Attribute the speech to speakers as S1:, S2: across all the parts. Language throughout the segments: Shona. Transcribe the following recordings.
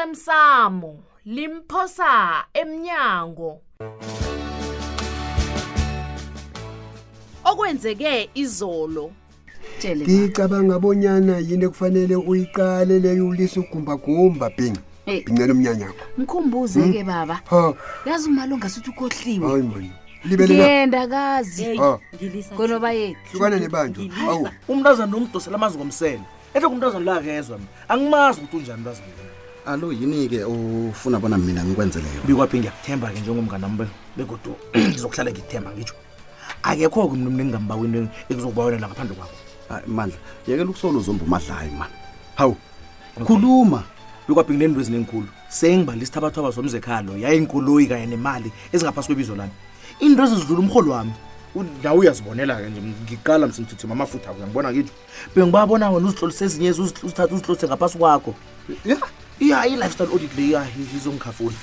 S1: osemsamo limphosa emnyango okwenzeke izolo
S2: tshele ba.
S3: ngicabanga bonyana yini ekufanele uyiqale leyo ulisa ugumbagumba bhingi
S2: Eh.
S3: bhincela umnyanya yakho
S2: mkhumbuze ke baba
S3: ha
S2: yazi umalunga sithi ukhohliwe
S3: hayi mani libelela
S2: ngiyendakazi
S3: ha
S2: konoba yethu
S3: hlukana nebanjwa awu
S4: umntazana nomdosela amazi ngomsene ehle kumntazana lo akezwa mina angimazi ukuthi unjani umntazana lo
S5: alo yini-ke ufuna bona mina ngikwenzeleyo
S4: bikwaphi ngiyakuthemba-ke njengomngane wami begodu ngizokuhlala ngithemba ngitsho akekho-ke mna umntu engingambaba into ekuzokubawonela ngaphandle kwakho
S5: Hayi, mandla yekela ukusolo uzomba umadlayi mani hawu khuluma
S4: bikwaphi nginento eziningikhulu sengibalisa abathwaba zomzekhalo yayinkoloyi kanye nemali ezingaphasi kwebizo lami into ezizidlula umrholo wami U- nawe uyazibonela-ke nje ngiqala msengithuthima amafutha akho ngibona ngitsho bengibabona wena uzihlolise ezinye uzi- uzithathe uzihlolise ngaphasi kwakho ya ya i-lifestyle audit le ya izongikhafula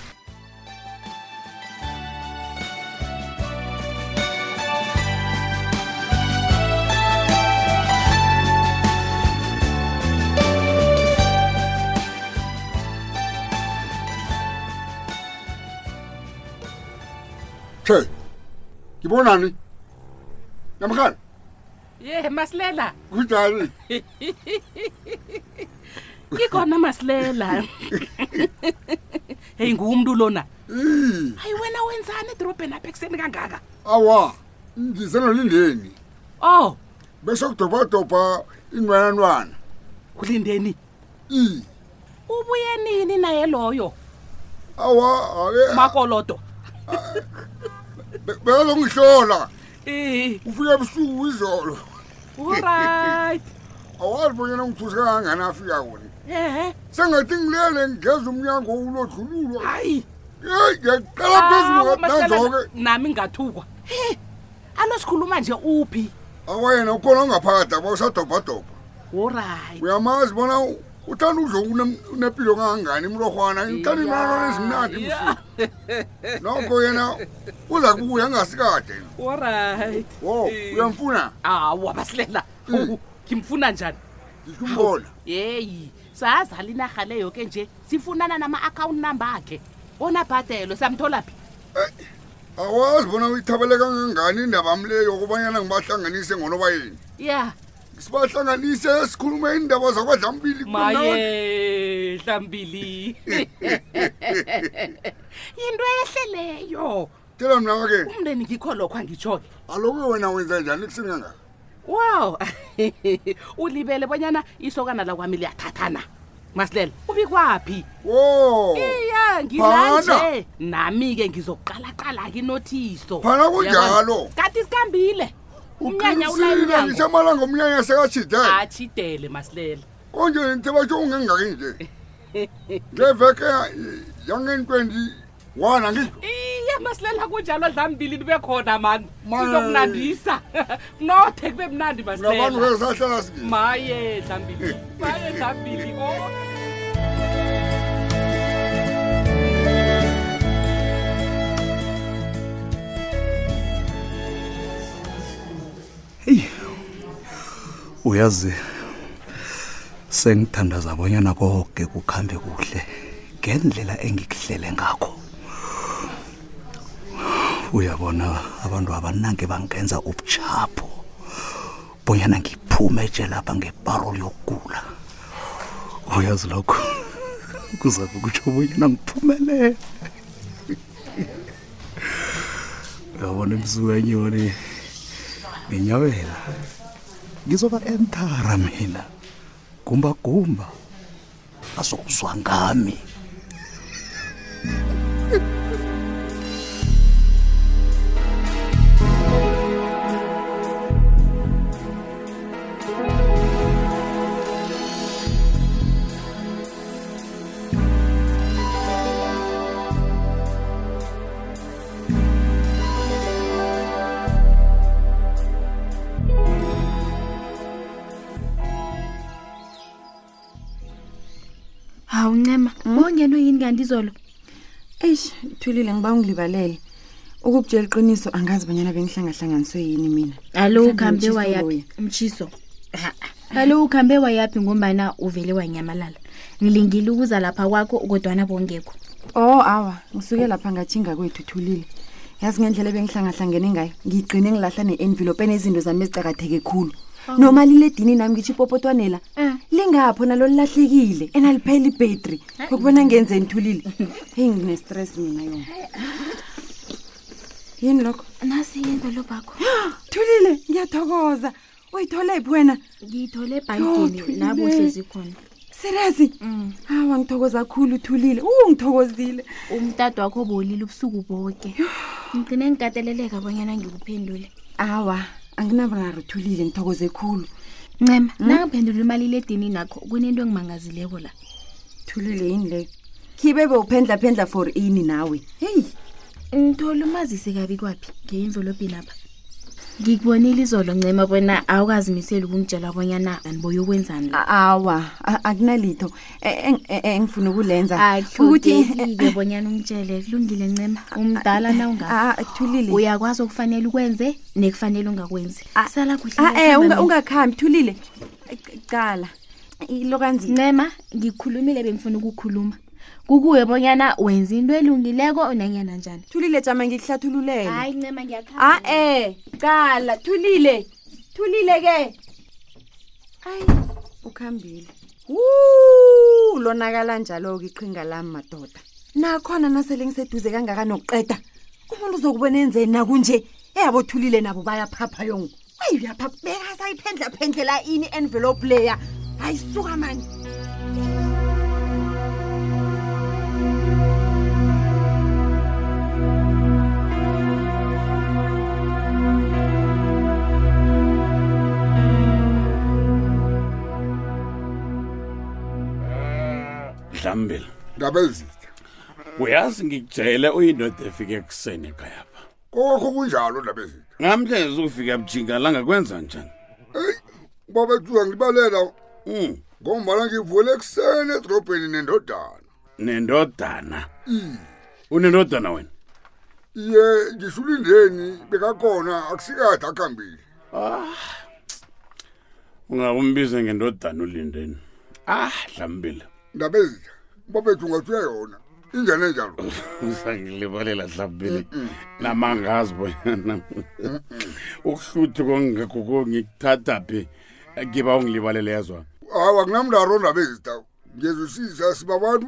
S6: Che. Ngibonani? Namkhani,
S7: ye masilela
S6: kunjani?
S7: ikhona masilela heyi nguwumntu lona hayi wena wenzani edorobheni apha ekuseni kangaka
S6: Awa, ngisenolindeni.
S7: oh
S6: Bese kudobadobha inwananwana.
S7: kulindeni
S6: I.
S7: ubuye nini naye loyo
S6: Awa, ake
S7: makolodo
S6: bezongihlola.
S7: Eh,
S6: Ufike ebusuku izolo.
S7: alright
S6: Awazi bonyana ngithusi kangangani afika kona.
S7: ehe
S6: Sengathi ngilele ngigeza umnyango ulodlululwa.
S7: hayi
S6: Yeyi, ngiyaqala
S7: Ah,
S6: phezulu
S7: Awu, Masilela,
S6: nanzo-ke.
S7: nami ngathukwa he alo sikhuluma nje uphi
S6: Awa yena ukhona ongaphakathi aba usadobhadobha.
S7: olright
S6: uyamazi bona u- uthanda udla ukune- unepilo kangangani imlorhwana ngithanda imanana ezimnandi msuku nokho yena uza kubuya angasikade
S7: olright
S6: wo uyamfuna
S7: awu abasilela
S6: Mm.
S7: ngimfuna njani
S6: ngisumbona
S7: yeyi sazala inarha leyo ke nje sifunana nama-akhawunti number akhe ona bhadelo samthola phi
S6: awazi bona uyithabele kangangani indaba mleyo okubanyana ngibahlanganise ngonoba yeni
S7: ya
S6: sibahlanganise sikhulume iindaba zakwadlambili kumnandi.
S7: maye hlambili yinto ehleleyo
S6: tela mnaka-ke
S7: umndeni ngikho lokho angitsho-ke
S6: aloku wena wenza njani ekuseni kangaka
S7: wow ulibele bonyana isokana lakwami liyathathana masilela ubikwaphi
S6: wo
S7: iya
S6: Phana.
S7: ngilanje nami-ke ngizokuqalaqala-ke inothiso
S6: Phana kunjalo.
S7: Uyabona? kanti sikambile umnyanya
S6: uqinisile ngisho
S7: ulayinyango
S6: amalanga omnyanya sekashidele
S7: Ah. ashidele masilela
S6: konje nithe batsho ungengaki nje ngeveke yangen-twenty-one angitsho
S7: iye masilela kunjalo dlambili libe khona mani
S6: Ma-
S7: sizokunandisa nothe kube mnandi
S6: nabantu
S7: masilela
S6: kesahlala sike
S7: maye dlambili maye dlambili oh.
S5: uyazi sengithandaza abonyana koke kukhambe kuhle ngendlela engikuhlele ngakho uyabona abantu abanange bangenza ubuchapho bonyana ngiphume nje lapha ngeparoli yokugula uyazi lokho kuzabe kutsho bonyana ngiphumelele uyabona emsukenye one nginyabela ngizoba entara mina gumbagumba bazokuzwa ngami
S8: hawu ncema ungenwe yini kanti izolo
S2: eish thulile ngiba ungilibalele ukukutshela iqiniso angazi banyana bengihlangahlanganiswe yini mina
S8: alo
S2: Mhlambe
S8: ukuhambe
S2: umtjhiso
S8: wayapi
S2: loyo.
S8: umtshiso alo ukuhambe wayapi ngombana uvele wanyamalala ngilingile ukuza lapha kwakho kodwana bongekho
S2: oh awa ngisuke lapha ngatshinga kwethu thulile yazi ngendlela ebengihlangahlangene ngayo ngigqine ngilahla ne-envelope enezinto zami ezicakatheke khulu nomaliledini nami ngitsho ipopotwanela
S8: Mm.
S2: lingapho nalo lilahlekile enaliphela ibhetri kokubona ngenzeni thulile heyi ngine-stress mina yona yini lokho
S8: nasi indolo bakho
S2: thulile ngiyathokoza uyithole phi wena
S8: ngiyithole
S2: Yo,
S8: ebhankini
S2: Thulile.
S8: la buhlezi khona
S2: sirasi hawa ngithokoza khulu thulile uwu ngithokozile
S8: umtado wakho bolile ubusuku boke ngigcine ngikateleleka bonyana ngikuphendule
S2: awa anginabularo thulile ngithokoze khulu
S8: ncema nangiphendula imaliledinini nakho kunento engimangazileko la
S2: thulile yini leyo khibe bewuphendlaphendla for ini nawe heyi
S8: ngithole umazisi kabi kwaphi ngeimvelophi lapha ngikubonile izolo ncema bona awukazimiseli ukungitshela bonyana aniboye ukwenzani la
S2: A- awa a- akunalitho E- eng- e- engifuna ukulenza
S8: akuhlogeki-ke bonyana ungitshele kulungile ncema umdala na unga
S2: Ah, thulile
S8: uyakwazi okufanele ukwenze nekufanele ungakwenzi
S2: Ah,
S8: sala kuhle
S2: Ah, eh,
S8: ngiyakhambe
S2: unga- ungakhambi E, thulile C- cala
S8: mina.
S2: ilokanzima
S8: ncema ngikhulumile bengifuna ukukhuluma kukuwe bonyana wenza into elungileko nanyana njani
S2: thulile jama ngikuhlathululele
S8: hayi ncema ngiyakha
S2: a eh cala thulile thulile ke ayi ukhambile wu lonakala njalo-ke iqhinga lami madoda nakhona nasele ngiseduze kangaka nokuqeda umuntu uzokubona enzeni nakunje eyabo thulile nabo bayaphapha yongo weyi uyapha bekasayiphendlaphendlela ini envelope leya hayi suka mani
S9: dlambile
S6: ndaba ezitha
S9: uyazi ngikutshele uyindoda efike ekuseni ekhayapha
S6: kokho kunjalo ndaba ezitha
S9: namhlanje ukufika bujingalanga kwenza njani
S6: eyi babethuka ngilibalela Hmm,
S9: um
S6: ngombana ngivule ekuseni edorobheni nendodana
S9: nendodana unendodana wena
S6: iye ngisulindeni bekakhona akusikade akuhambile
S9: Ah, ungakumbize ngendodana ulindeni ah dlambile
S6: ndaba ezitha babethu ungathuya yona injani enjalo
S9: uzangilibalela dlambile namangazi bonyana ukuhluthi kongekho kongikuthatha phi ngiba ungilibalele yazwa
S6: hawa kunamndaro ndaba ezitha ngiyezwisisa sibabantu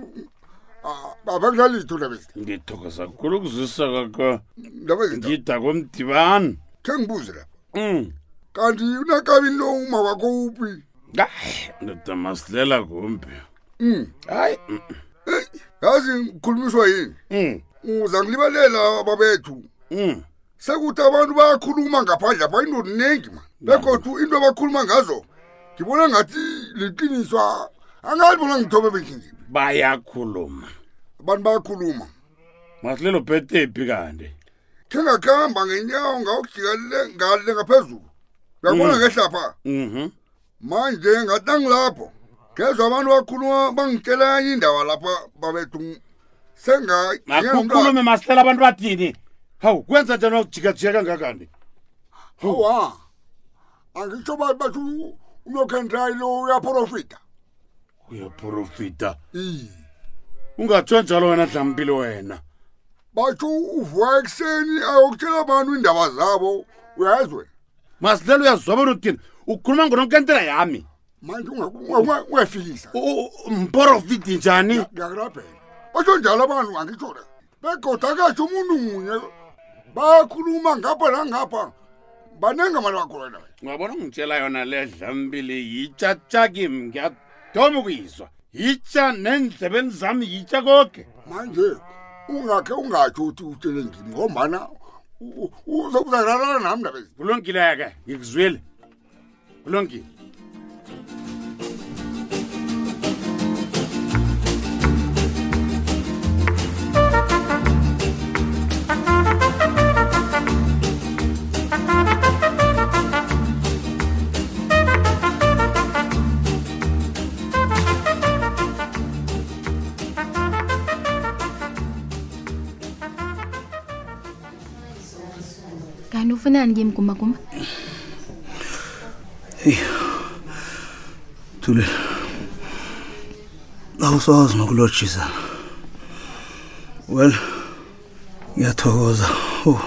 S6: ah, abakudlalitho ndaba ezitha
S9: ngithokoza kkhulu ukuzwisa kwakho
S6: ndaba ezitha
S9: ngidakomdibani
S6: khengibuze lapha
S9: um
S6: kanti unakabini lo uma wakho uphi
S9: hayi ndoda masilela kumbi
S6: Mm.
S9: hayi
S6: yazi ngikhulumiswa yini
S9: mm,
S6: uza ngilibalela babethu
S9: mm.
S6: sekuthi abantu bayakhuluma ngaphandle apha into ninengi ma begodwa into abakhuluma ngazo ngibona ngathi liqiniswa angalibona ngithobe benkingibi
S9: bayakhuluma
S6: abantu bayakhuluma
S9: masilelo bhetephi kanti
S6: khengakuhamba ngenyawo ngawujikalele ngale ngaphezulu uyakubona ngehlapha
S9: Mhm.
S6: manje ngathi angilapho ngezwa abantu bakhuluma bangitshela enye indaba lapha babethu
S9: makukhulume masilela abantu bathini hawu kwenza njani wakujikajika kangakandi
S6: awa angitsho bantu bathi unokhentrayi lo uyaprofita
S9: uyaprofita ungatsho njalo wena dlampile wena
S6: batsho uvuka ekuseni ayokutshela abantu iindaba zabo uyazwe
S9: masilela uyazwaba nothini ukhuluma ngononkentela yami
S6: manje ungafikisa
S9: U- u- mporofiti njani
S6: ngiyakurabhela batsho njalo abantu angitsho le begoda katsho umuntu munye bayakhuluma ngapha nangapha banenge abantu bakhulana
S9: ungabona ungitshela yona le dlambile yitsha tshakimi ngiyadoma ukuyizwa yitsha nendlebeni zami yitsha koke
S6: manje ungakhe ungatsho uthi utshele ngimi ngombana u- u- uzakuzararana nami ndabezi
S9: kulungileke ngikuzwile kulungile
S8: kanti ufunani kimi gumaguma
S3: thulile awusazi nokulotshisa well ngiyathokoza u-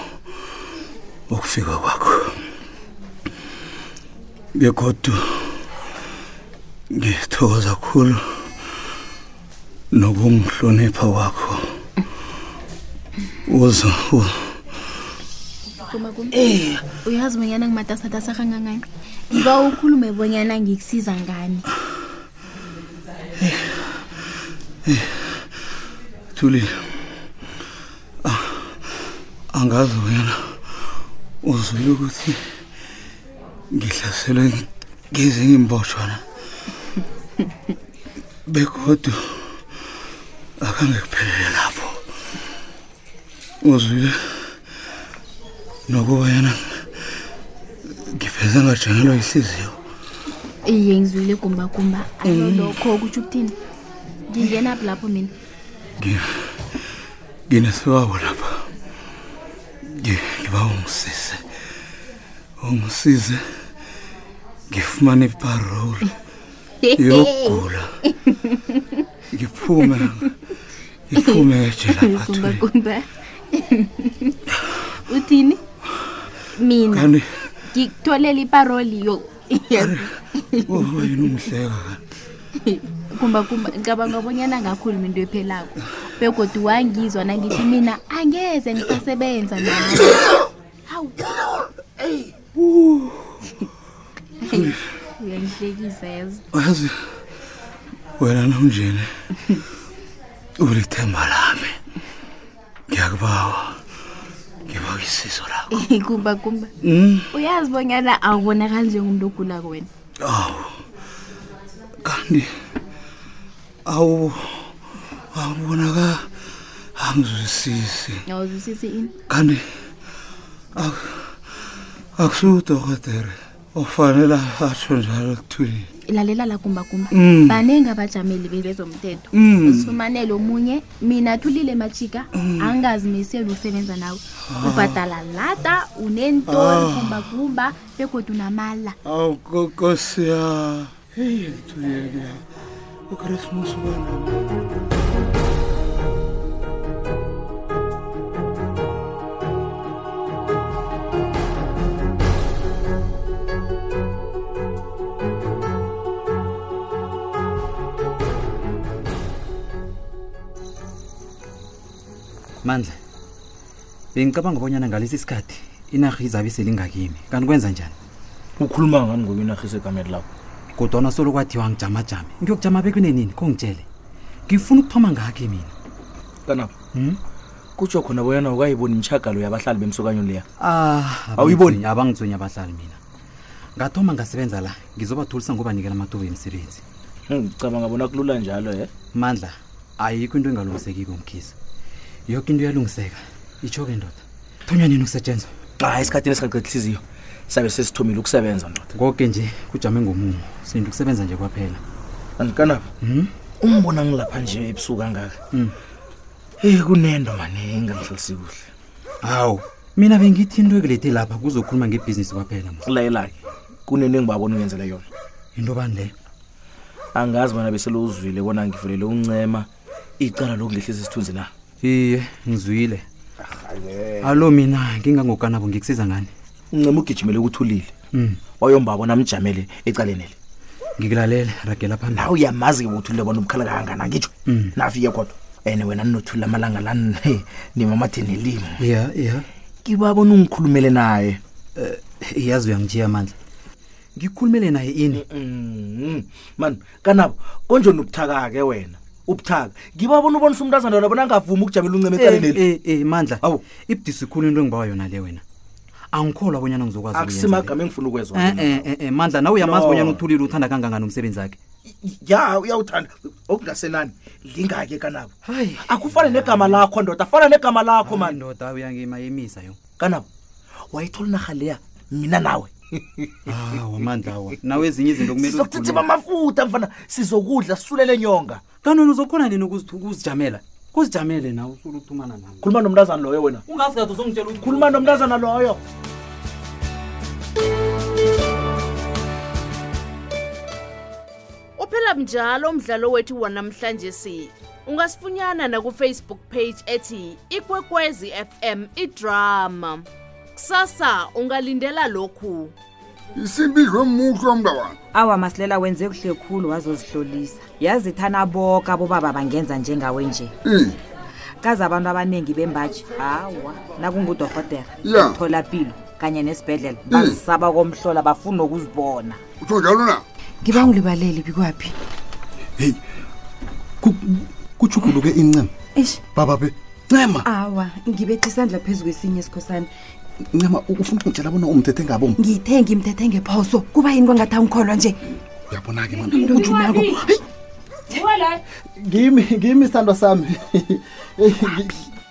S3: ukufika kwakho begodu ngithokoza kakhulu nokungihlonipha kwakho uzo u-
S8: Eh, uyazi bonyana ngimatasatasa kangangani ngiba ukhulume bonyana ngikusiza ngani
S3: thulile Ah, angazi bonyana uzwile ukuthi ngihlaselwe ngezinye imbotshwana begodu akhange kuphelele lapho uzwile nokubonyana ngiveze ngajengelwa yihliziyo
S8: iye ngizwile gumbagumba alo lokho kutsho ukuthini ngingenaphi lapho mina
S3: Ngi- nginesibawo lapha Ngi- ngiba ungisize ungisize ngifumane iparole yokugula ngiphume ngiphume ejela bathule
S8: gumbagumba uthini mina
S3: kanti
S8: ngikutholela iparoli yo yazi
S5: oh,
S3: wena ungihleka kanti
S8: gumbagumba ngicabanga bonyana ngakhuluma into ephelako begodwa wangizwa nangithi mina angeze ngisasebenza nawe hawu Hey, uyangihlekisa yazi
S3: uyazi wena nomnjeni ulithemba lami ngiyakubawa ngibawa isizo lakho
S8: kumba kumba uyazi bonyana awubonakali njengomuntu ogulako wena
S3: Awu. Kanti awu awubonaka angizwisisi.
S8: awuzwisisi ini
S3: Kanti ak-
S10: er,
S3: akusudokotela
S10: oh,
S3: ofanele atsho njalo kuthulile.
S8: lalela la gumbagumba
S3: Mm.
S8: baningi abajameli bezomthetho
S3: Mm.
S8: usifumanele omunye mina thulile majika angazimiseli ukusebenza nawe
S3: Ah.
S8: ubhadala lata unentori gumbagumba begodwa unamala
S3: Awu ko- nkosi ya. Hey, kuthulile. UChristmas ubona.
S10: mandla bengicabanga ubonyana ngalesi sikhathi inarhi izabe selingakimi kanti kwenza njani
S4: ukhuluma ngani ngoba inarha isegameni lakho
S10: kodwana solo kwathiwa ngijamajame ngiyokujama bekunenini kongitshele ngifuna ukuthoma ngakhe mina
S4: kanabo kutsho khona boyana ukayiboni mtshagalo yabahlali bemsukanyo leya
S10: ah
S4: Awuyiboni?
S10: abangithunyi- abangithunyi abahlali mina ngathoma ngasebenza la ngizobathulisa ngobanikela amathuba emsebenzi
S4: Hmm, ngicabanga bona kulula njalo e
S10: mandla ayikho into engalungisekiko mkhiza yoke into iyalungiseka itsho-ke ndoda thonywa nini ukusetshenzwa
S4: xa esikhathini esingaqeda ihliziyo sabe sesithomile ukusebenza ndoda
S10: koke nje kujame ngomumo sinto ukusebenza nje kwaphela
S4: andikanabo umbona ngilapha nje ebusuku Eh, angaka eyi kunento mane engangihlalisi kuhle
S10: hawu mina bengithi into ekulethe lapha kuzokhuluma ngebhizinisi kwaphela
S4: layela-ke kunento engibabona ungenzele yona
S10: into bani leyo
S4: angazi bona besele uzwile bona ngivulele uncema icala lokungehlisa isithunzi na
S10: iye ngizwile alo mina ngingangokanabo ngikusiza ngani
S4: uncema ugijimele ukuthulile
S10: Mm.
S4: wayombabo namjamele ecalenele
S10: ngikulalele ragela phambili
S4: nawe uyamazi-ke bokuthulile bona ubukhala kangangani angitsho nafike kodwa and wena ninothulile amalanga lani nimamadenelimo
S10: ya ya
S4: kiba bona ungikhulumele naye
S10: Eh, iyazi uyangijiya amandla ngikhulumele naye ini
S4: mani kanabo konje nobuthaka-ke wena ubuthaka ngiba bona ubonisa umntu azana yona bona angavumi ukujamela uncema
S3: Eh,
S4: ecaleneli
S10: e mandla awu ibudisi khulu into engibawa yona le wena angikholwa abonyana
S3: eh.
S10: ngizokwazi Eh,
S4: akusimagama engifuna ukwezwa
S10: e-e-e mandla nawe uyamazi
S4: No.
S10: bonyana uthulile uthanda kangangani umsebenzi wakhe
S4: ya uyawuthanda okungasenani lingake kanabo akufana negama lakho ndoda afana negama lakho mani
S10: ndoda uyangimayemisa yo
S4: kanabo wayithola inarha leya mina nawe
S3: Ah,
S10: hawa mandla awa nawe ezinye izinto kumele
S4: sizokuthithima amafutha mfana sizokudla sisulele nyonga
S10: kanoni uzokhona nini ukuzijamela kuzijamele nawe usuluthumana nami
S4: khuluma nomntazana loyo wena
S10: ungazi kade uzongitshela ukuthi
S4: khuluma nomntazana loyo
S1: uphela Uqala njalo umdlalo wethu wanamhlanje si. Ungasifunyana na ku Facebook page ethi Ikwekwezi FM iDrama. Kusasa ungalindela lokhu.
S6: isimbidlwe muhle omntawana
S11: awa masilela wenze kuhle khulu wazozihlolisa yazi thana boke abobaba bangenza njengawe nje kaze abantu abaningi bembaji hawa nakungudorhotera
S6: Ya.
S11: tholapilo kanye nesibhedlela bazisaba komhlola bafuna nokuzibona
S6: utsho njalo na
S2: ngiba ngilibaleli bikwaphi
S3: kujuguluke incema
S2: eish
S3: baba be ncema
S10: Ah.
S2: awa ngibetha isandla phezu kwesinye esikhosana
S3: ncema ufuna ukungitshela bona umthethe ngabom
S2: ngithe ngimthethe ngephoso kuba yini kwangathi angikholwa nje
S3: uyabona-ke mana
S2: ntonjunako
S3: ngimi ngimi sithandwa sami Eyi, ngi-